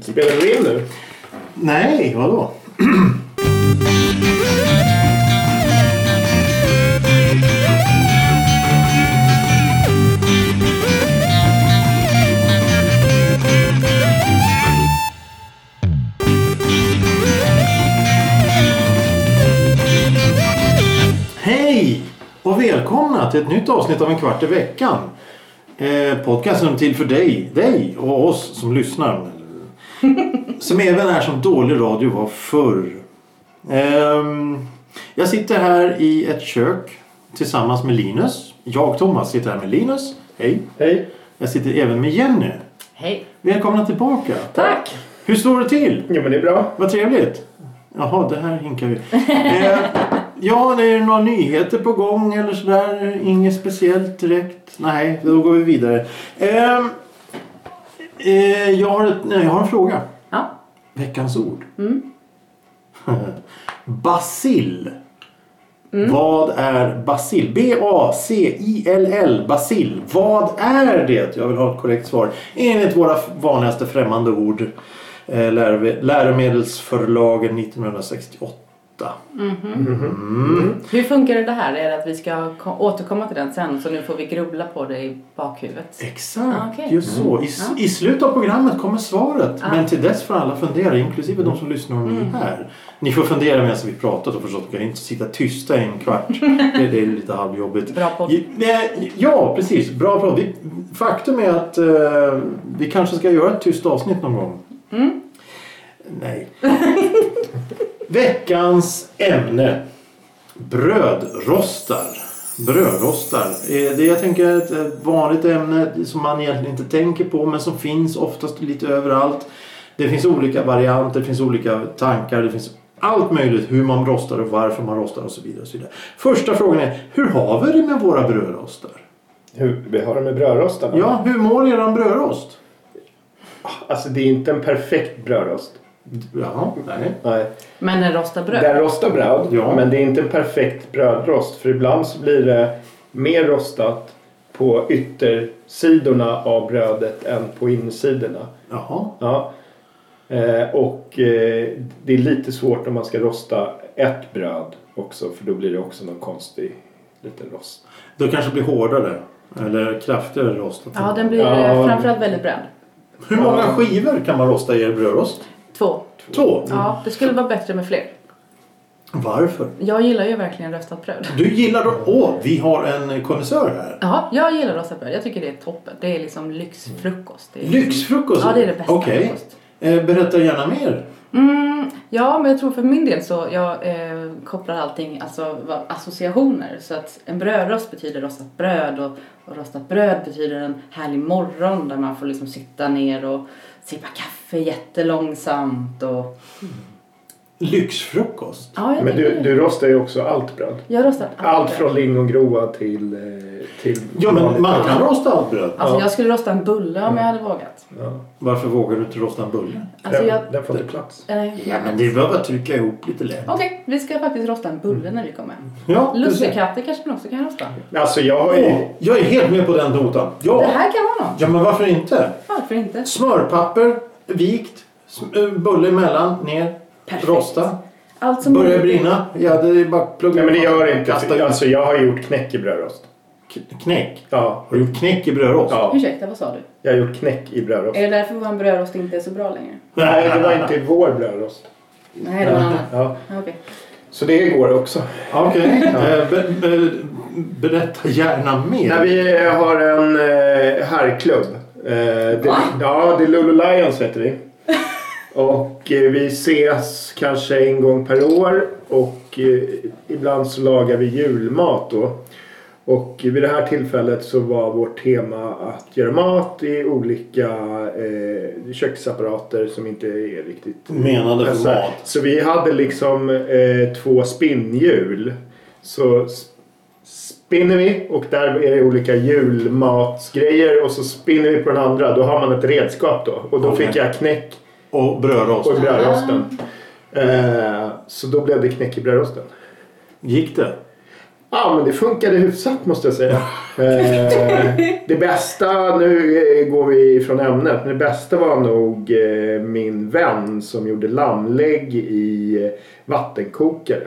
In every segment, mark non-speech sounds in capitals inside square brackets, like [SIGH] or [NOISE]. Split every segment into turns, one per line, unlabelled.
Spelar du in nu?
Nej, vadå? Hej och välkomna till ett nytt avsnitt av En kvart i veckan. Eh, podcasten till för dig, dig och oss som lyssnar. Som även är som dålig radio var förr. Ehm, jag sitter här i ett kök tillsammans med Linus. Jag och Thomas sitter här med Linus. Hej.
Hej.
Jag sitter även med Jenny.
Hej.
Välkomna tillbaka.
Tack.
Hur står det till?
Jo men det är bra.
Vad trevligt. Jaha, det här hinkar vi. Eh, ja, är det några nyheter på gång eller sådär? Inget speciellt direkt? Nej, då går vi vidare. Ehm, eh, jag, har ett, nej, jag har en fråga.
Ja.
Veckans ord. [LAUGHS] basil. Vad är basil? B-A-C-I-L-L. Basil. Vad är det? Jag vill ha ett korrekt svar. Enligt våra vanligaste främmande ord. eh, lärobe- Läromedelsförlagen 1968.
Hur funkar det här? Är det att vi ska ko- återkomma till den sen så nu får vi grubbla på det i bakhuvudet?
Exakt,
Ah, okej. Mm.
just så. I, s-
Ja.
I slutet av programmet kommer svaret.
Ah.
Men till dess får alla fundera, inklusive de som lyssnar om
Mm.
ni är här. Ni får fundera medan vi pratar så förstås. Vi kan inte sitta tysta i en
[LAUGHS]
kvart. det, det är lite halvjobbigt.
Bra podd.
Ju- nej, Ja, precis. Bra prat. Vi- Faktum är att eh, vi kanske ska göra ett tyst avsnitt någon gång.
Mm.
Nej. [LAUGHS] Veckans ämne. Brödrostar. Brödrostar. Eh, Det jag tänker är ett eh, vanligt ämne som man egentligen inte tänker på men som finns oftast lite överallt. Det finns olika varianter, det finns olika tankar, det finns allt möjligt hur man rostar och varför man rostar och så vidare. Och så vidare. Första frågan är, hur har vi det med våra brödrostar?
Hur, vi har det med brödrostarna?
Ja, hur mår eran brödrost?
Alltså det är inte en perfekt brödrost.
Ja, nej.
Nej.
Men en rostad bröd?
Den rostar bröd.
Ja.
Men det är inte en perfekt brödrost. För ibland så blir det mer rostat på yttersidorna av brödet än på insidorna.
Jaha.
Ja. Eh, och eh, det är lite svårt om man ska rosta ett bröd också. För då blir det också någon konstig liten rost.
Då kanske blir hårdare. Eller kraftigare rostat.
Ja, den blir
Ja.
eh, framförallt väldigt bränd.
Hur många skivor kan man rosta i er brödrost?
Två.
Två.
Ja, det skulle vara bättre med fler.
Varför?
Jag gillar ju verkligen rostat bröd.
Du gillar dem. Åh, vi har en konnässör här.
Ja, jag gillar rostat bröd. Jag tycker det är toppen. Det är liksom lyxfrukost. Det är...
Lyxfrukost?
Ja, det är det bästa
Okej.
frukost.
Eh, Berätta gärna mer.
Mm, ja, men jag tror för min del så jag eh, kopplar allting, alltså vad- associationer. Så att en brödrost betyder rostat bröd och, och rostat bröd betyder en härlig morgon där man får liksom sitta ner och sippa kaffe jättelångsamt och...
Lyxfrukost?
Ja, jag,
Men
tycker
du,
det.
du rostar ju också allt bröd.
jag har rostat allt
Allt
bröd.
från lingongroa till... eh, till
Ja, men
vanligt
man
bröd.
kan rosta allt bröd.
Alltså
Ja.
jag skulle rosta en bulle om jag hade vågat.
Ja.
Varför vågar du inte rosta en bulle?
Alltså
den,
jag...
den får inte plats.
Eh,
Ja, men det är bara att trycka ihop lite lätt.
Okej, vi ska faktiskt rosta en bulle när vi kommer hem.
Ja, du ser.
Lussekatter kanske man också kan rosta.
Alltså jag har ju...
Åh, jag är helt med på den notan.
Det
Ja,
här kan vara något.
ja men varför inte?
Varför inte?
Smörpapper, vikt, sm- eh, bulle emellan, ner,
Perfekt. Alltså,
rosta.
Allt som
Börjar brinna. Ja, det är bara att plugga
Nej men det gör det inte.
Kasta
För,
ut.
alltså jag har gjort knäck i brödrost.
K- Knäck.
Ja.
Har du gjort knäck i brödrost?
ja.
Ursäkta, vad sa du?
Jag har gjort knäck i brödrost.
Är det därför vår brödrost inte är så bra längre?
Nej, det var inte vår brödrost.
Nej, det var en annan. Ah,
Ja.
Okej. [LAUGHS]
Så det går också. [LAUGHS]
Okej. Eh, be- be- Berätta gärna mer.
När vi har en eh, herrklubb. Eh, det,
Va?
ja, det är Lulu Lions heter vi. Och eh, vi ses kanske en gång per år och eh, ibland så lagar vi julmat då. Och vid det här tillfället så var vårt tema att göra mat i olika eh, köksapparater som inte är riktigt
Menade för
Alltså,
mat.
Så vi hade liksom eh, två spinnhjul. Så s- spinner vi och där är det olika julmatsgrejer och så spinner vi på den andra. Då har man ett redskap då. Och då
Okej.
fick jag knäck
Och
på
brödrost.
brödrosten. Eh, så då blev det knäck i brödrosten.
Gick det?
Ja, men det funkade hyfsat måste jag säga. Eh, det bästa, nu eh, går vi från ämnet, men det bästa var nog eh, min vän som gjorde lammlägg i eh, vattenkokare.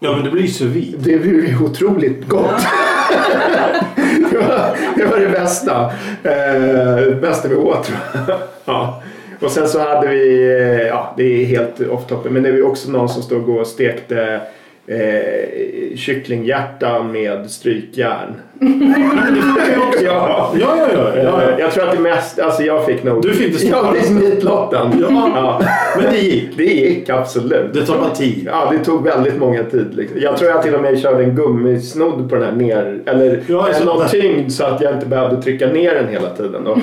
Ja, men det blir ju så [LAUGHS] vid.
Det blev ju otroligt gott. [LAUGHS] det, var, det var det bästa. Eh, det bästa vi åt tror jag. ja. Och sen så hade vi, eh, ja det är helt off topic, men det var ju också någon som stod och stekte eh, kycklinghjärta med strykjärn. ja.
Ja, ja, ja. ja,
Eh,
ja.
Jag tror att det mest, alltså jag fick nog...
Du fick det
Ja,
snabbast.
det är nitlotten.
Ja.
Men det gick. Det gick absolut.
Det tar bara tid.
Ja, det tog väldigt många tid. Liksom. Jag tror jag till och med körde en gummisnodd på den här ner... Eller
Ja,
eller
så-
någon tyngd så att jag inte behövde trycka ner den hela tiden. Då.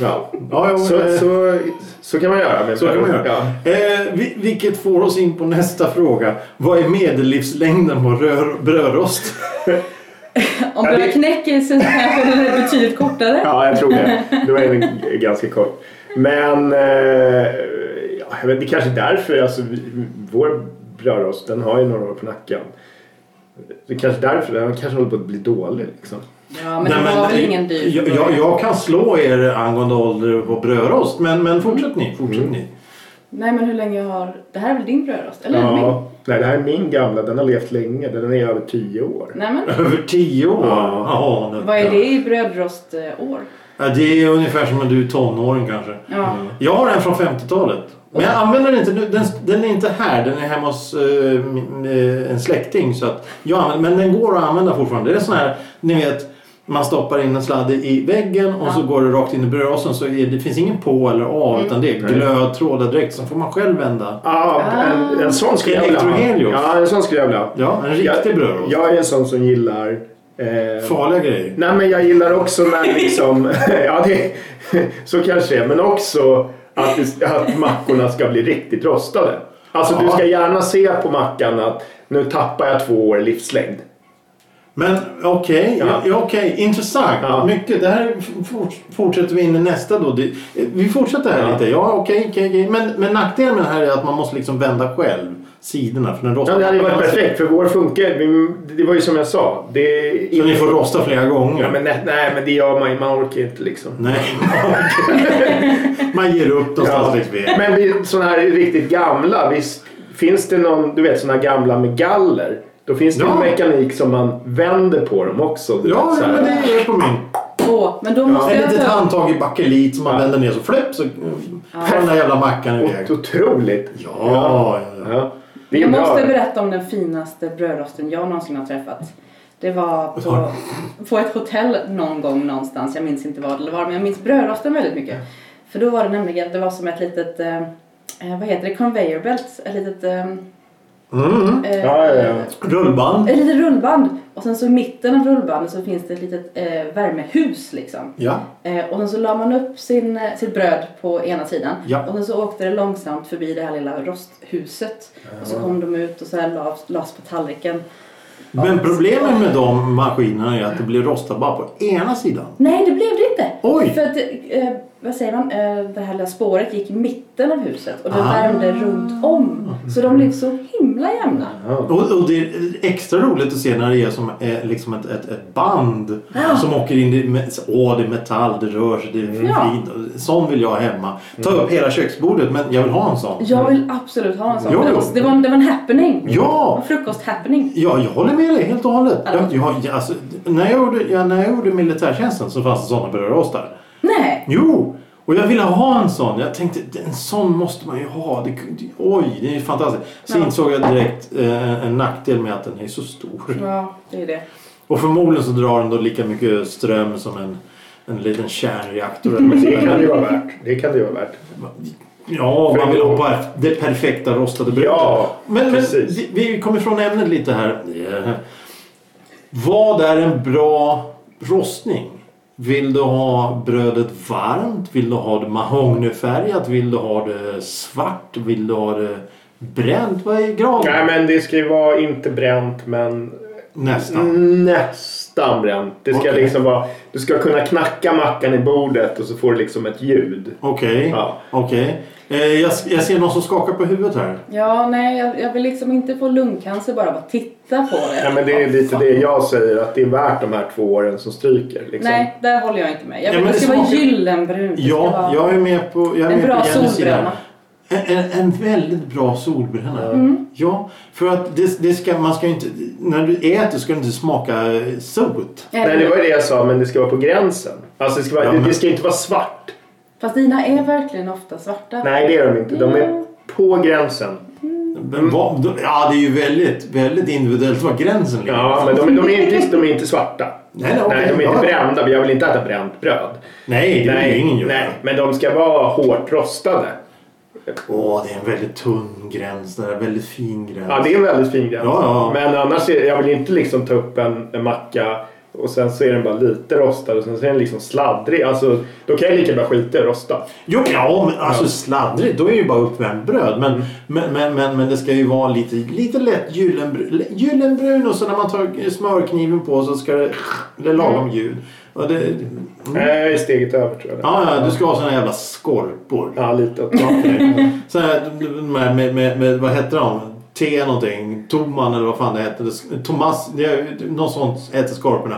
Ja.
Ja, ja,
Så,
eh,
så, så kan man göra. Med
Så kan man
Ja.
göra. Eh, vi- vilket får oss in på nästa fråga. Vad är medellivslängden på rör, brödrost?
Om
Ja, det-
bröd knäcker så kanske den är betydligt kortare.
ja, jag tror det. Då är den g- ganska kort. Men eh, ja, jag vet, det kanske är därför. Alltså, vi, vår brödrost, den har ju några år på nacken. Det kanske är därför. Den kanske håller på att bli dålig. Liksom.
Ja, men det var väl ingen dyr.
eh, Jag, jag, jag kan slå er angående ålder på brödrost, men, men fortsätt ni. Fortsätt ni.
Mm.
Nej, men hur länge har... Det här är väl din brödrost? Eller min?
Ja. Nej, det här är min gamla. Den har levt länge. Den är över tio år.
Nej, men
Över tio år?
Ja.
Ja, nu-
vad är det i brödrostår?
Ja, det är ungefär som när du är tonåring kanske.
Ja.
Jag har en från 50-talet. Men jag använder den inte nu. Den, den är inte här. Den är hemma hos eh, min- eh, en släkting. Så att jag använder, men den går att använda fortfarande. Det är sån här, ni vet, man stoppar in en sladd i väggen och
Ja.
så går det rakt in i brödrosten. Så är, det finns ingen på eller av utan det är
Nej.
glöd, trådar direkt. Sen får man själv vända.
Ja, en, en sån skulle jag vilja ha.
Elektrogelios.
Ja, en sån skulle jag vilja ha.
Ja, en
Jag,
riktig brödrost.
jag är en sån som gillar... Eh,
Farliga grejer.
nej, men jag gillar också när liksom... [LAUGHS] ja, det, så kanske det är. Men också att, det- att mackorna ska bli riktigt rostade. Alltså,
Ja.
du ska gärna se på mackan att nu tappar jag två år i livslängd.
Men okej,
Ja.
ja. okej, intressant.
Ja.
Mycket. Det här fort- fortsätter vi in i nästa då. Det, vi fortsätter här
Ja.
lite. Ja, okej, okej, okej. Men, men nackdelen med det här är att man måste liksom vända själv sidorna för den rostar.
Ja, det hade ju varit perfekt, för vår funkar... vi- Det var ju som jag sa. Det,
Så ni får rosta flera gånger.
ja, men, nej, nej, men det gör man ju. Man orkar ju inte liksom.
Nej. man ger upp någonstans
Ja.
längs vägen.
Men vi, sådana här riktigt gamla, visst finns det någon, du vet sådana här gamla med galler? Då finns det
Ja.
en mekanik som man vänder på dem också. Du
Ja,
vet, så
ja,
här.
men det är på min.
Åh, men då måste
Ett
jag
litet
ta...
handtag i bakelit som man
Ja.
vänder ner så fläpp så far den där jävla mackan iväg.
Ot- Otroligt!
Ja, ja, ja.
Ja. Det är
Jag
bra.
måste berätta om den finaste brödrosten jag någonsin har träffat. Det var
[LAUGHS]
på, på ett hotell någon gång någonstans. Jag minns inte vad det var, men jag minns brödrosten väldigt mycket. För då var det nämligen, det var som ett litet, eh, eh, vad heter det, conveyor belt? Ett litet... Eh,
Mm.
eh,
Ja, ja, ja.
Rullband.
Ett litet rullband och sen så i mitten av rullbandet så finns det ett litet eh, värmehus liksom.
Ja.
Eh, och sen så la man upp sin, eh, sitt bröd på ena sidan
Ja.
och sen så åkte det långsamt förbi det här lilla rosthuset. Och så kom de ut och så här las, las på tallriken.
Men problemet med de maskinerna är att det blir rostat bara på ena sidan.
Nej, det blev det inte!
Oj!
För att, eh, vad säger man, eh, det här lilla spåret gick i mitten av huset och det
Ah.
värmde runt om. Så de blev så himla jämna.
Ja.
Och, och det är extra roligt att se när det är som eh, liksom ett, ett, ett band
Ja.
som åker in. i me- Åh, det är metall, det rör sig, det är
Ja.
fint. Sån vill jag ha hemma. Ta upp hela köksbordet, men jag vill ha en sån.
Jag vill absolut ha en sån.
Jo,
det,
jo.
var, det, var, en- det var en happening.
Ja!
En frukost-happening.
Ja, jag håller med dig helt och hållet.
Ja.
Jag, jag, jag- alltså, när, jag gjorde, ja, när jag gjorde militärtjänsten så fanns det såna brödrostar.
Nej!
Jo! Och jag ville ha en sån. Jag tänkte en sån måste man ju ha. Det, det, oj, det är fantastiskt. Så
Ja.
insåg jag direkt eh, en nackdel med att den är så stor.
Ja, det är det.
Och förmodligen så drar den då lika mycket ström som en, en liten kärnreaktor. eller
Men
något
det
sånt
kan
där.
det ju vara värt. Det kan det ju vara värt.
Ja, man vill ha bara det perfekta rostade brödet.
Ja,
men, men
precis.
vi- vi kommer från ämnet lite här. Eh, Vad är en bra rostning? Vill du ha brödet varmt? Vill du ha det mahognifärgat? Vill du ha det svart? Vill du ha det bränt? Vad är graden?
Nej, men det ska ju vara inte bränt, men Mm.
Nästan.
Nästan bränt. Det ska
Okej.
liksom vara... Du ska kunna knacka mackan i bordet och så får du liksom ett ljud.
Okej.
Ja.
Okej. Eh, jag, jag ser någon som skakar på huvudet här.
Ja, nej, jag, jag vill liksom inte få lungcancer bara av att titta på det.
Ja, men det är lite det jag säger att det är värt de här två åren som stryker. Liksom.
Nej, där håller jag inte med. Jag
Ja,
vill,
men
det
det
ska vara
smakar-
gyllenbrunt. Det ska
Ja,
vara...
jag är med på, jag är
En
med
bra
på Jennys sida.
solbränna.
En, en, en väldigt bra solbränna. Ja, för att det, det ska, man ska ju inte, när du äter ska det inte smaka eh, sot.
Nej,
Eh,
det var ju det jag sa, men det ska vara på gränsen. Alltså, det ska, vara,
Ja,
det,
men-
det ska inte vara svart.
Fast dina är verkligen ofta svarta.
Nej, det är de inte. De är
Ja.
på gränsen. Mm.
Men vad- Ja, det är ju väldigt, väldigt individuellt var gränsen ligger.
Ja, men de, de, är, inte, de är inte svarta.
Nej, nej, okej,
de är
ja.
inte brända. Jag vill inte äta bränt bröd.
Nej, det vill ju ingen göra.
nej, men de ska vara hårt rostade.
Åh, det är en väldigt tunn gräns där. Väldigt fin gräns.
Ja, det är en väldigt fin gräns.
Ja, ja.
Men annars, är, jag vill inte liksom ta upp en, en macka och sen så är den bara lite rostad och sen så är den liksom sladdrig. Alltså, då kan jag lika bra skita i att rosta.
Jo, ja, men alltså sladdrigt. Då är det ju bara uppvärmt bröd. Men, men, men, men, men det ska ju vara lite, lite lätt gyllenbrun, gyllenbrun och så när man tar smörkniven på så ska det, det är lagom ljud. Och det, ja,
Nej, Eh, steget över tror jag.
Mm. ja, du ska ha såna jävla skorpor.
Ja, lite. åt-
Så här, med, med, med, med, vad hette de? T någonting. Toman eller vad fan det hette. Thomas, det är, något sånt hette skorporna.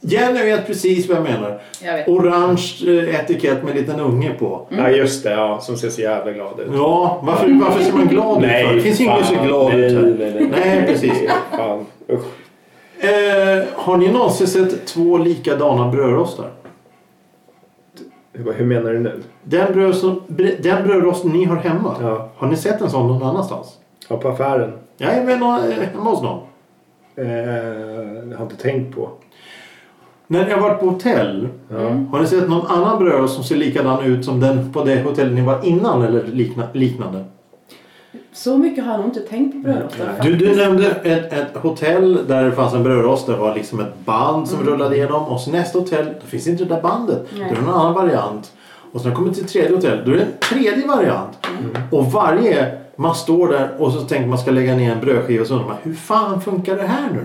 Jenny vet precis vad jag menar.
Jag vet.
Orange eh, etikett med en liten unge på.
Ja, just det. Ja, som ser så jävla glad ut.
Ja, varför, varför ser man glad ut för? Det finns ju ingen som ser glad
nej,
ut här.
nej, nej,
Nej, precis.
Fan, usch.
Eh, har ni någonsin sett två likadana brödrostar?
Hur hur menar du nu?
Den, bröd som, bre- den brödrost ni har hemma,
Ja.
har ni sett en sån någon annanstans?
Ja, på affären.
Jag är med någon, eh, hemma hos någon.
Eh, jag har inte tänkt på.
När jag varit på hotell, har ni sett någon annan brödrost som ser likadan ut som den på det hotell ni var innan eller likna, liknande?
Så mycket har jag nog inte tänkt på brödrostar.
Du, du nämnde ett, ett hotell där det fanns en brödrost. Det var liksom ett band som rullade igenom. Och så nästa hotell, då finns inte det där bandet.
Nej.
Då är det en annan variant. Och sen kommer till tredje hotell, då är det en tredje variant. Och varje, man står där och så tänker man ska lägga ner en brödskiva och så undrar man hur fan funkar det här nu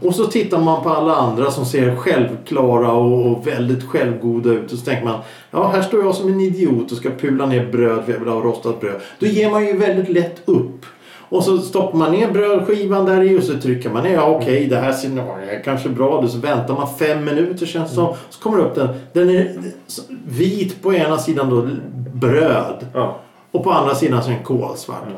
då? Och så tittar man på alla andra som ser självklara och, och väldigt självgoda ut och så tänker man ja här står jag som en idiot och ska pula ner bröd för jag vill ha rostat bröd. Då ger man ju väldigt lätt upp. Och så stoppar man ner brödskivan där i och så trycker man ner. Ja, okej,
Mm.
det här ser det är kanske bra ut. Så väntar man fem minuter känns det
Mm.
som. Så kommer det upp den. Den är så- vit på ena sidan då, bröd.
Ja.
Och på andra sidan så är den kolsvart.
Mm.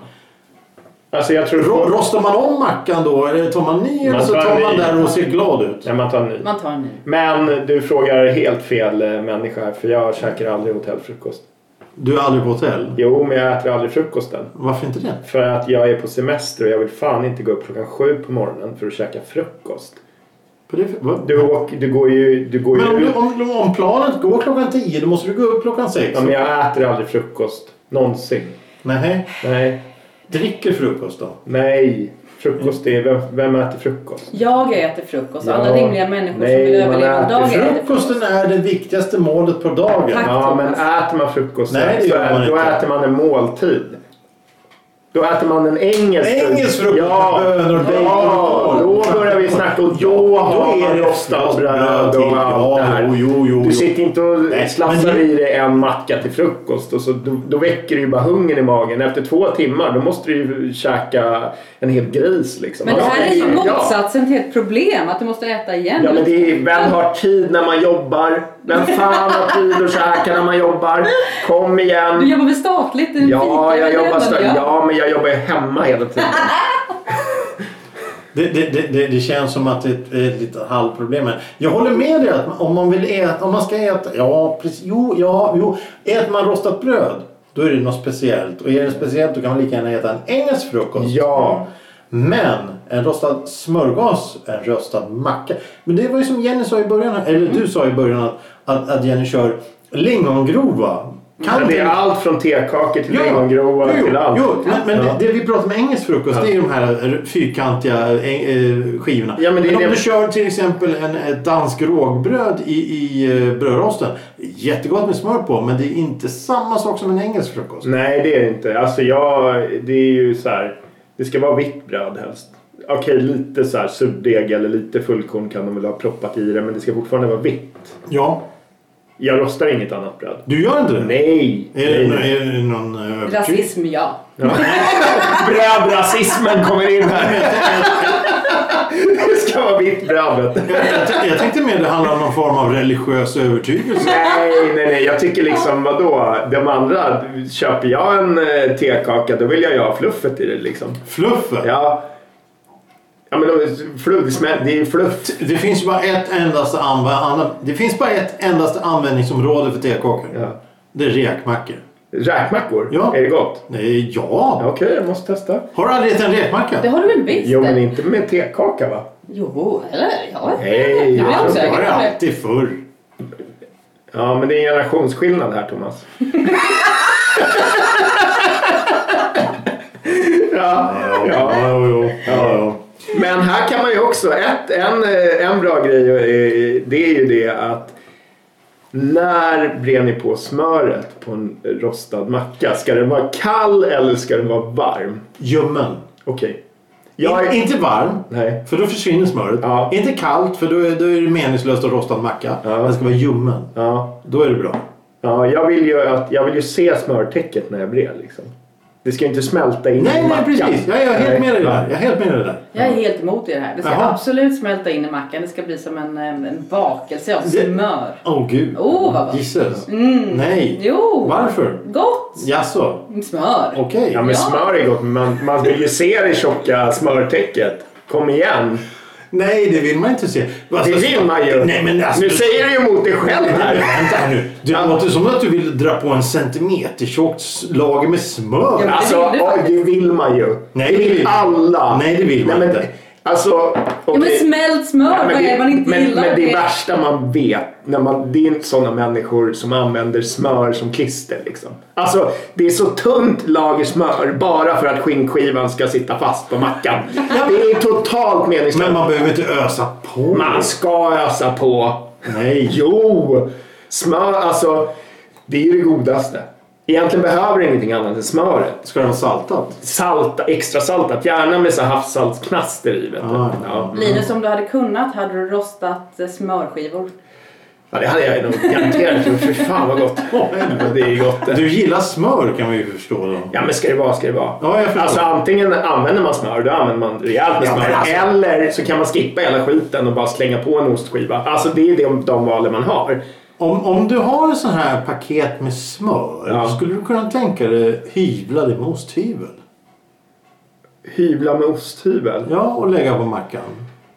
Alltså jag tror...
Ro- Rostar man om mackan då? Eller tar man ny? Eller
Man
så
tar
tar
en
man
ny.
där och ser glad ut?
Nej, man tar en ny.
Man tar en ny.
Men du frågar helt fel eh, människa här för jag käkar aldrig hotellfrukost.
Du är aldrig på hotell?
Jo, men jag äter aldrig frukosten.
Varför inte det?
För att jag är på semester och jag vill fan inte gå upp klockan sju på morgonen för att käka frukost.
För det vad?
Du, åker, du går ju... Du går
Men om,
ju
du,
ut.
om, om planet går klockan tio, då måste du gå upp klockan sex.
Ja, men jag äter aldrig frukost. Någonsin.
Nej.
Nej.
Dricker frukost då?
Nej. Frukost är... Vem, vem äter frukost?
Jag äter frukost.
Ja.
Alla rimliga människor
Nej,
som vill
man
överleva en
äter
dag äter frukost.
Frukosten är det viktigaste målet på dagen.
Tack.
Ja, men äter man frukost
Nej, det
så
gör
ä-
man
då
inte.
äter man en måltid. Då äter man en engelsk
Engelsk frukost
Ja,
med bönor, bacon
ja,
och korv.
då börjar vi snacka och då, har man rostat bröd och allt det
Ja,
här.
jo, jo, jo.
Du sitter inte
Nej,
och slafsar
men-
i dig en macka till frukost och så, då, då väcker det ju bara hungern i magen. Efter två timmar då måste du ju käka en hel gris liksom.
Men det här är ju
Ja.
motsatsen till ett problem. Att du måste äta igen.
Ja men det är, vem har tid när man jobbar? Vem fan har tid att käka när man jobbar? Kom igen!
Du jobbar väl statligt? i en
Ja,
fika,
jag
eller
jobbar
vad du
stö-
gör.
ja, men jag jobbar ju hemma hela
[LAUGHS]
tiden.
Det, det, det, det, det känns som att det är ett, ett litet halvproblem. här. Jag håller med dig att om man vill äta, om man ska äta, ja precis, jo, ja, jo. Äter man rostat bröd, då är det något speciellt. Och är det speciellt då kan man lika gärna äta en engelsk frukost.
Ja.
Men en rostad smörgås, en rostad macka. Men det var ju som Jenny sa i början, här, eller du sa i början att, att, att Jenny kör lingongrova.
Men det är allt från tekakor till lingongrova
jo,
till allt.
Jo, men, men
Ja.
det, det vi pratar om engelsk frukost det är ju de här fyrkantiga eh, eh, skivorna.
Ja, men det är
om
det-
du kör till exempel en, ett dansk rågbröd i, i eh, brödrosten. Jättegott med smör på men det är inte samma sak som en engelsk
Mm.
frukost.
Nej, det är det inte. Alltså jag, det är ju så här. Det ska vara vitt bröd helst. Okej, lite så här surdeg eller lite fullkorn kan de väl ha proppat i det men det ska fortfarande vara vitt.
Ja.
Jag rostar inget annat bröd.
Du gör inte det?
Nej!
Är det,
nej.
är det någon eh, övertro?
Rasism, ja.
[LAUGHS]
Brödrasismen kommer in här! Det ska vara vitt bröd vet du.
Jag t- Jag tänkte mer det handlar om någon form av religiös övertygelse.
Nej, nej, nej. Jag tycker liksom vadå? De andra, köper jag en eh, tekaka då vill jag ju ha fluffet i det liksom.
Fluffet.
Ja. Ja men de, fluff, men det är fluff.
Det finns ju bara ett endaste, anv- anv- det finns bara ett endaste användningsområde för tekakor.
Ja.
Det är räkmackor.
Räkmackor?
Ja.
Är det gott?
Nej, ja.
Okej, jag måste testa.
Har du aldrig ätit en
Det
räkmacka?
har du väl visst?
Jo, men inte med tekaka va?
Jo, eller? Ja.
Nej.
Det är
Ja,
också
Det har
säkert.
jag alltid förr.
Ja, men det är en generationsskillnad här Thomas. ja, ja.
jo, jo. Ja, jo.
Men här kan man ju också, ett, en, eh, en bra grej eh, det är ju det att när brer ni på smöret på en rostad macka? Ska den vara kall eller ska den vara varm?
Ljummen.
Okej. Jag är...
In, inte varm,
Nej.
för då försvinner smöret.
Ja.
Inte kallt, för då är, då är det meningslöst att rosta en macka.
Ja.
Den ska vara ljummen.
Ja,
Då är det bra.
ja jag, vill ju att, jag vill ju se smörtäcket när jag brer liksom. Det ska ju inte smälta
Nej,
in i
nej,
mackan.
precis. Jag är helt med dig där. Jag är helt med dig där.
Jag är helt emot det här. Det ska
Jaha.
absolut smälta in i mackan. Det ska bli som en, eh, en bakelse av
Det-
smör.
Åh oh, gud.
Oh, vad gott.
Gisses.
Mm.
Nej.
Jo.
Varför?
Gott!
Jaså?
Smör.
Okej.
Ja, men
Ja.
smör är gott, men man, man vill ju se det tjocka smörtäcket. Kom igen!
Nej, det vill man inte se. Alltså,
Det vill man ju!
Nej, men alltså,
nu säger du ju emot dig själv
Nej,
här!
men Vänta här nu. Det
Ja.
låter som att du vill dra på en centimeter tjockt s- lager med smör.
Ja.
Alltså,
Det vill du
oj,
faktiskt.
det vill man ju.
Nej, det vill
vill
man
alla.
inte. Nej, det vill man
men,
inte.
Alltså,
Ja, men
okej.
smält smör,
Ja,
vad är det man inte
men,
gillar?
men det
Det-
värsta man vet, när man, det är inte sådana människor som använder smör som klister. Liksom. Alltså, det är så tunt lager smör bara för att skinnskivan ska sitta fast på mackan. Det är totalt meningslöst.
Men man behöver inte ösa på.
Man ska ösa på.
Nej.
Jo! Smör, alltså. Det är ju det godaste. Egentligen behöver det ingenting annat än smöret.
Ska det vara saltat?
Salta, extra saltat. Gärna med så här havssaltsknaster i. Vet du.
Ah.
Ja.
Linus, om du hade kunnat hade du rostat eh, smörskivor.
ja, det hade jag nog garanterat gjort. Fy fan vad gott. Det är ju gott.
Du gillar smör kan man ju förstå då.
Ja, men ska det vara, ska det vara.
Ja, jag förstår.
Alltså antingen använder man smör, då använder man rejält med
Ja, men
smör.
alltså-
Eller så kan man skippa hela skiten och bara slänga på en ostskiva. Alltså det är de, de valen man har.
Om, om du har så här paket med smör,
Ja.
skulle du kunna tänka dig hyvla det med osthyvel?
Hyvla med osthyvel.
Ja, och lägga på mackan.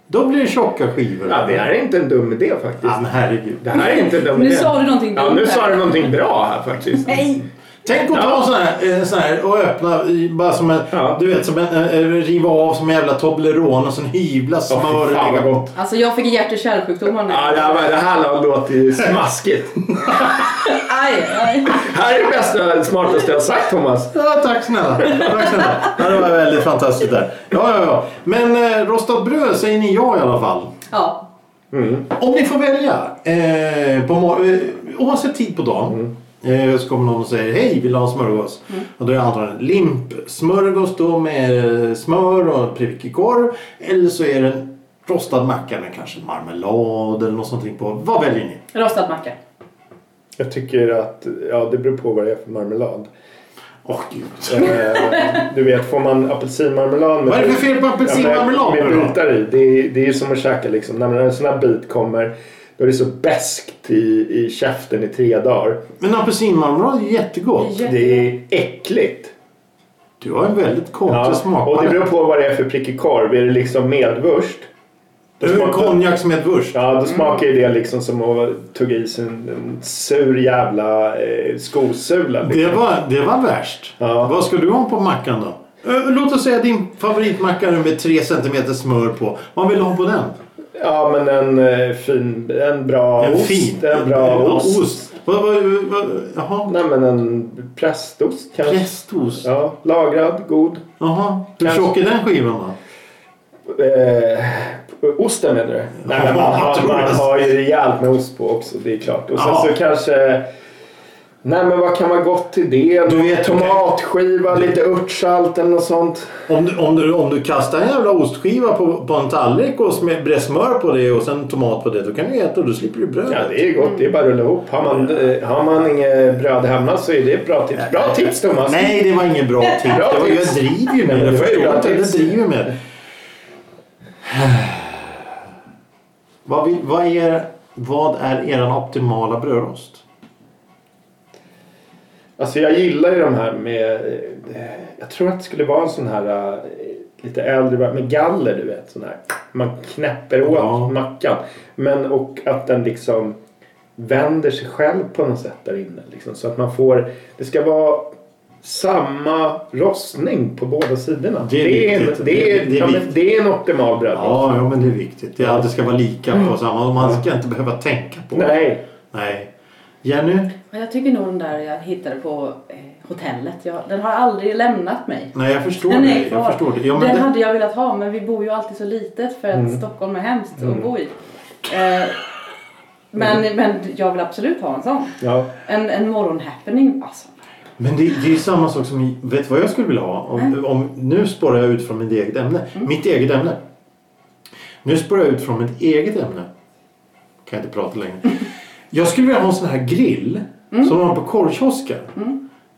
Då blir det tjocka skivor.
Ja, det här är inte en dum idé faktiskt.
Ja, men herregud.
Det här är inte en dum
Nu
idé.
sa du någonting
Ja,
dumt
nu
här.
sa du någonting bra här faktiskt.
Nej!
Tänk att ta en sån här, eh, sån här och öppna i- bara som en,
Ja.
du vet, som en, eh, eh, riva av som en jävla Toblerone och sen hyvla
Åh, fy
smör
fan,
och lägga
vad
på.
gott.
Alltså jag fick hjärt och kärlsjukdomar nu.
Ja, det här, var- det här låter ju smaskigt.
Aj, aj.
här är det bästa, smartaste jag har sagt Thomas.
Ja, tack snälla. Tack snälla. Ja, Det var väldigt fantastiskt där. Ja, ja, ja. Men eh, rostat bröd säger ni ja i alla fall.
Ja.
Om ni får välja, eh, på mor- eh, oavsett tid på dagen,
Mm.
eh, så kommer någon och säger hej, vill du ha en smörgås? Och då är det antagligen limpsmörgås då med eh, smör och prickig korv. Eller så är det en rostad macka med kanske marmelad eller något sånt på. Vad väljer ni?
Rostad macka.
Jag tycker att, ja det beror på vad det är för marmelad.
Åh gud.
Eh, du vet, får man apelsinmarmelad med...
Vad är det för fel på apelsinmarmelad
med,
nu
med
då?
bitar i. Det är, det är ju som att käka liksom. När en sån här bit kommer då är det så beskt i, i käften i tre dagar.
Men apelsinmarmelad är jättegott.
Jätte-
Det är äckligt.
Du har en väldigt
Ja,
konstig
och det beror
smak.
på vad det är för prickig korv. Är det liksom medvurst? Då
Du har
smakar-
konjak som ett vurst.
Ja, då smakar ju det liksom som att tugga i sig en, en sur jävla eh, skosula.
Det var, det var värst.
Ja.
Vad ska du ha på mackan då? Eh, Låt oss säga din favoritmacka nu med 3 cm smör på. Vad vill du ha på den?
Ja, men en eh, fin, en bra
en
ost.
fin.
En bra
Ja,
ost.
Vad, vad, vad, jaha.
Nej, men en prästost kanske.
Prästost.
Ja, lagrad, god.
Jaha. Hur
Kanske.
tjock är den skivan då?
Eh, osten menar du? Nej, [LAUGHS] men man,
Ja, jag
har,
tror
man
det.
har ju rejält med ost på också, det är klart. Och sen
Ja.
så kanske Nej men vad kan vara gott till det?
Du vet,
Tomatskiva,
okej.
lite örtsalt eller något sånt.
Om du, om, du, om du kastar en jävla ostskiva på, på en tallrik och smör, brär smör på det och sen tomat på det, då kan du äta och då slipper du brödet.
Ja det är gott, det är bara att rulla ihop. Har man, eh, har man inget bröd hemma så är det ett bra tips. Bra tips Thomas!
Nej, det var ingen bra tips.
Bra
det var, jag
tips.
driver ju med
Nej,
det.
det var
Förlåt,
bra
jag
tips.
driver med det. Vad, vill, vad, är, vad är eran optimala brödrost?
Alltså jag gillar ju de här med... eh, Jag tror att det skulle vara en sån här eh, lite äldre med galler du vet. Sån här. Man knäpper åt
Ja.
mackan. Men och att den liksom vänder sig själv på något sätt där inne. Liksom, så att man får... Det ska vara samma rostning på båda sidorna.
Det är
en-
viktigt.
det är,
Det- det är
ja, men
viktigt.
det är en optimal brödrost.
Ja, ja, men det är viktigt. Det, det ska vara lika på samma. och Man ska inte behöva tänka på det.
Mm. Nej.
Nej. Jenny?
Men jag tycker nog den där jag hittade på eh, hotellet, jag, den har aldrig lämnat mig.
Nej, jag förstår
Den
det.
är
Jag
kvar.
förstår det. Ja, men
den
det Mm.
hade jag velat ha men vi bor ju alltid så litet för att Stockholm är hemskt att bo i. Eh,
Mm.
men, men jag vill absolut ha en sån.
Ja.
En, en morgonhappening alltså.
men det, det är samma sak som... Vet du vad jag skulle vilja ha? Om, om, nu spårar jag ut från mitt eget ämne. Mitt eget ämne. Nu spårar jag ut från mitt eget ämne. Kan jag inte prata längre. Jag skulle vilja ha en sån här grill som man har på korvkiosker.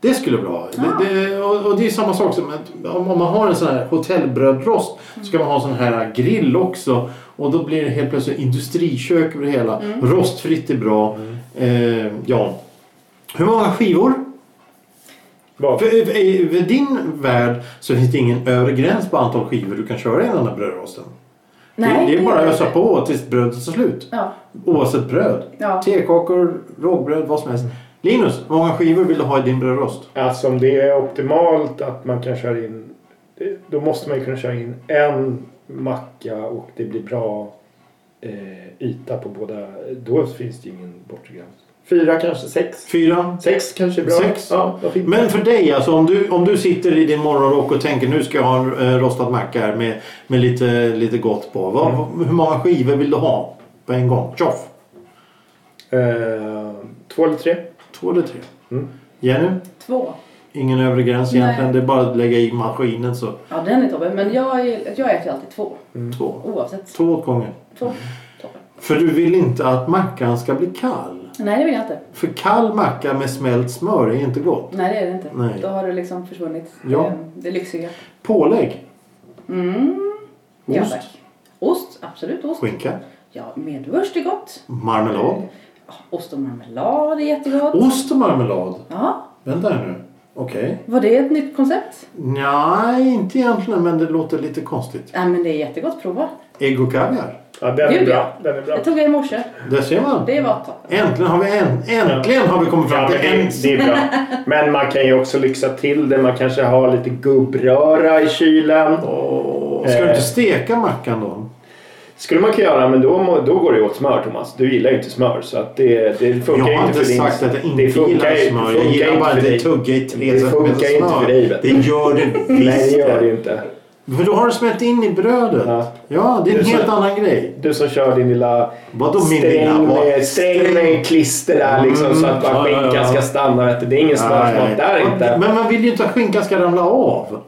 Det skulle vara bra. Det, det, och, och det är samma sak som att om, om man har en sån här hotellbrödrost så kan man ha en sån här grill också. Och då blir det helt plötsligt industrikök över det hela. Rostfritt är bra. Eh, ja. Hur många skivor?
Bra.
För, i- i, I din värld så finns det ingen övre gräns på antal skivor du kan köra i den här brödrosten. det, det är bara att ösa på tills brödet tar slut.
Ja.
Oavsett bröd.
Ja.
Tekakor, rågbröd, vad som helst. Linus, hur många skivor vill du ha i din brödrost?
Alltså om det är optimalt att man kan köra in... Då måste man ju kunna köra in en macka och det blir bra eh, yta på båda. Då finns det ju ingen bortre gräns. Fyra kanske, sex.
Fyra?
Sex kanske är bra.
Sex?
Ja, vad fint.
Men för dig, alltså, om, du, om du sitter i din morgonrock och tänker nu ska jag ha en eh, rostad macka här med, med lite, lite gott på. Vad, Hur många skivor vill du ha på en gång? Tjoff!
Eh, två eller tre.
Två eller tre?
Mm.
Jenny?
Två.
Ingen övre gräns
Nej.
egentligen. Det är bara att lägga i maskinen så
Ja den är toppen. Men jag, är- jag äter ju alltid två.
två.
Oavsett.
Två åt gången.
Två. Toppen.
För du vill inte att mackan ska bli kall.
Nej det vill jag inte.
För kall macka med smält smör är inte gott.
Nej det är det inte.
Nej.
Då har det liksom försvunnit.
Ja.
eh, Det lyxiga.
Pålägg.
Mm. Ja,
Ost.
tack. Ost. Absolut ost.
Skinka.
Ja medvurst är gott.
Marmelad.
Ost och marmelad är jättegott.
Ost och marmelad.
Ja,
Vänta här nu. Okej.
var det ett nytt koncept?
Nej, inte egentligen men det låter lite konstigt.
Nej men det är jättegott, prova.
Ägg och kaviar.
Ja, den är
Gud,
bra. Den är bra.
Det tog jag i morse.
Där ser man.
Det var toppen.
Äntligen har vi, en, äntligen har vi kommit
Ja,
fram till
men
en.
det, det är [LAUGHS] bra. Men man kan ju också lyxa till det. Man kanske har lite gubbröra i kylen.
Åh, Ska du
eh,
inte steka mackan då?
Skulle man kunna göra, men då, må- då går det åt smör Thomas. Du gillar ju inte smör så att det, det
Jag
funkar ju
har inte
inte för din...
sagt att jag inte
det funkar
gillar
ju- det
smör.
funkar
Jag
ju
gillar bara
för
inte
dig.
tugga i tre
Det
centimeter
funkar ju inte
smör.
för dig, vet
Det
du.
gör det
Nej, det
visst
gör det ju inte.
För då har du smält in i brödet. Ja,
Ja.
det är en
Det är
helt
så.
annan grej.
Du som kör din lilla
Vadå min lilla?
sträng,
Vad?
med, sträng med klister där liksom
Mm,
så att
ja,
bara
ja, ja.
skinkan ska stanna. Vet du. Det är ingen smörsmak där
Nej.
inte.
Men man vill ju inte att skinkan ska ramla av.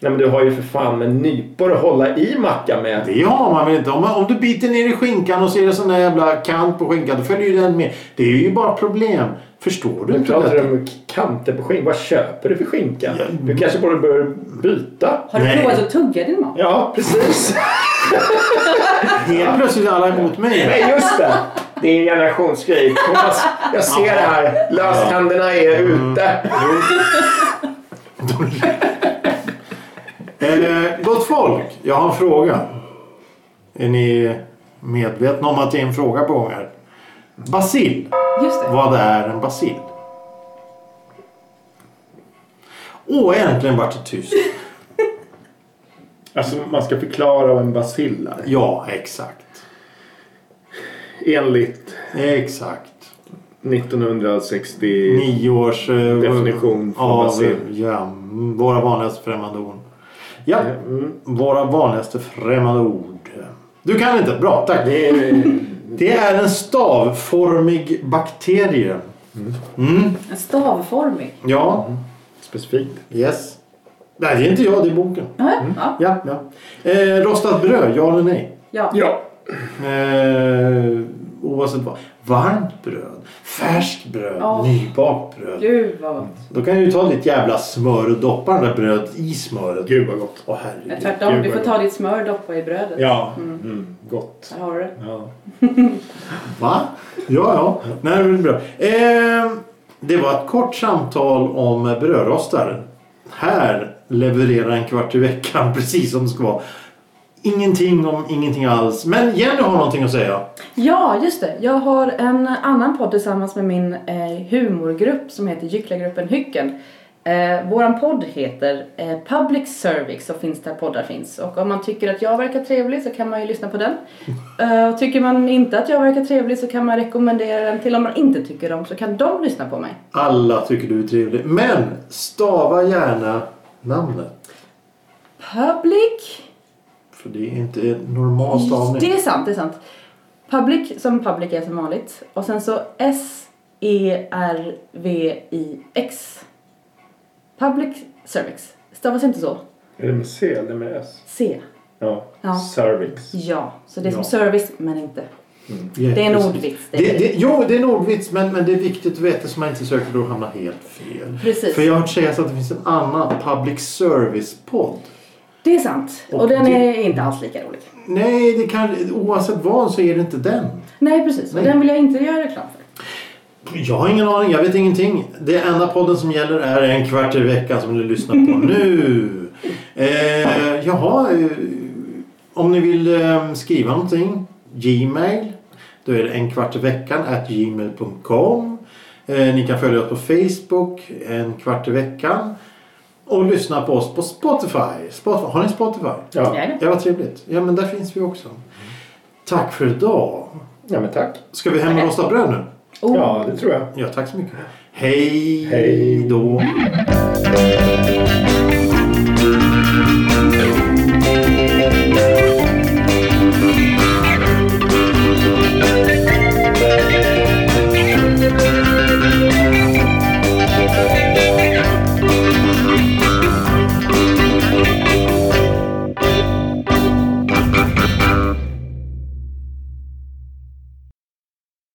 Nej men du har ju för fan en nypor att hålla i mackan med.
Det har man väl inte. Om, man, om du biter ner i skinkan och ser en sån där jävla kant på skinkan då följer ju den med. Det är ju bara problem. Förstår du
Nu
inte
pratar du
detta?
om kanter på skinkan. Vad köper du för skinka? Du kanske borde börja byta.
Har du
Nej.
provat att tugga din mat?
Ja, precis.
Helt plötsligt är alla emot mig. [LAUGHS]
Nej, just det. Det är generationsgrej. Thomas, jag ser det här. Löständerna är ute.
Eh, gott folk, jag har en fråga. Är ni medvetna om att det är en fråga på gång här? Basil.
Just det.
Vad är en basil? Åh, äntligen vart det tyst.
Alltså, man ska förklara vad en basil är.
Ja, exakt.
Enligt
Exakt.
1960...
Nio års... eh,
Definition från
ja,
basil.
Ja, mm, våra vanligaste främmande ord. Ja,
mm.
våra vanligaste främmande ord. Du kan inte? Bra, tack.
Det är,
Det är en stavformig bakterie Mm.
En stavformig.
Ja.
Mm. Specifikt.
Yes. Nej, det är inte jag. Det är boken.
Ja,
Mm.
Ja.
Ja, ja. Eh, rostat bröd, ja eller nej?
ja.
Ja.
Eh, oavsett vad. Varmt bröd, färskt bröd,
Ja.
nybakt bröd.
Gud vad gott.
Då kan du ju ta ditt jävla smör och doppa det där brödet i smöret.
Gud vad gott.
Åh
Nej,
herregud.
tvärtom,
gud,
du
vad
får ta ditt smör och doppa i brödet.
Ja.
Mm.
Mm, gott.
Där har du det.
Ja.
Va? Ja, ja. Nej, det blir bra. Eh, det var ett kort samtal om brödrostaren. Här levererar en kvart i veckan [LAUGHS] precis som det ska vara. Ingenting om ingenting alls. Men Jenny har någonting att säga.
Ja, just det. Jag har en annan podd tillsammans med min eh, humorgrupp som heter Gycklargruppen Hycken. Eh, våran podd heter eh, Public Service och finns där poddar finns. Och om man tycker att jag verkar trevlig så kan man ju lyssna på den. Eh, och tycker man inte att jag verkar trevlig så kan man rekommendera den till om man inte tycker om så kan de lyssna på mig.
Alla tycker du är trevlig. Men stava gärna namnet.
Public
För det är inte en normal stavning.
Det är sant, det är sant. Public som public är som vanligt. Och sen så E S-E-R-V-I-X. Public cervix. Stavas inte så?
Är det med C eller med S?
C.
Ja.
Ja.
Cervix.
Ja, så det är som
Ja.
service men inte.
Ja,
Det är en
precis.
ordvits, det
Det,
är det.
det, jo, det är en ordvits men, men det är viktigt att veta så man inte söker för då hamnar helt fel.
Precis.
För jag har hört sägas att det finns en annan public service-podd.
Det är sant. Och,
Och
den
det-
är inte alls lika rolig.
Nej, det kan, oavsett vad så är det inte den.
Nej, precis. Och
Nej.
den vill jag inte göra reklam för.
Jag har ingen aning, jag vet ingenting. Det enda podden som gäller är en kvart i veckan som ni lyssnar på nu. Eh, jaha, eh, om ni vill eh, skriva någonting, Gmail. Då är det en kvart i veckan at gmail.com. Eh, ni kan följa oss på Facebook, en kvart i veckan. Och lyssna på oss på Spotify. Spotify. Har ni Spotify?
Ja.
Nej,
Ja, vad trevligt. Ja, men där finns vi också. Tack för idag.
ja, men tack.
Ska vi hem och rosta bröd nu?
oh.
Ja, det tror jag.
Ja, tack så mycket. Hej
Hej.
då.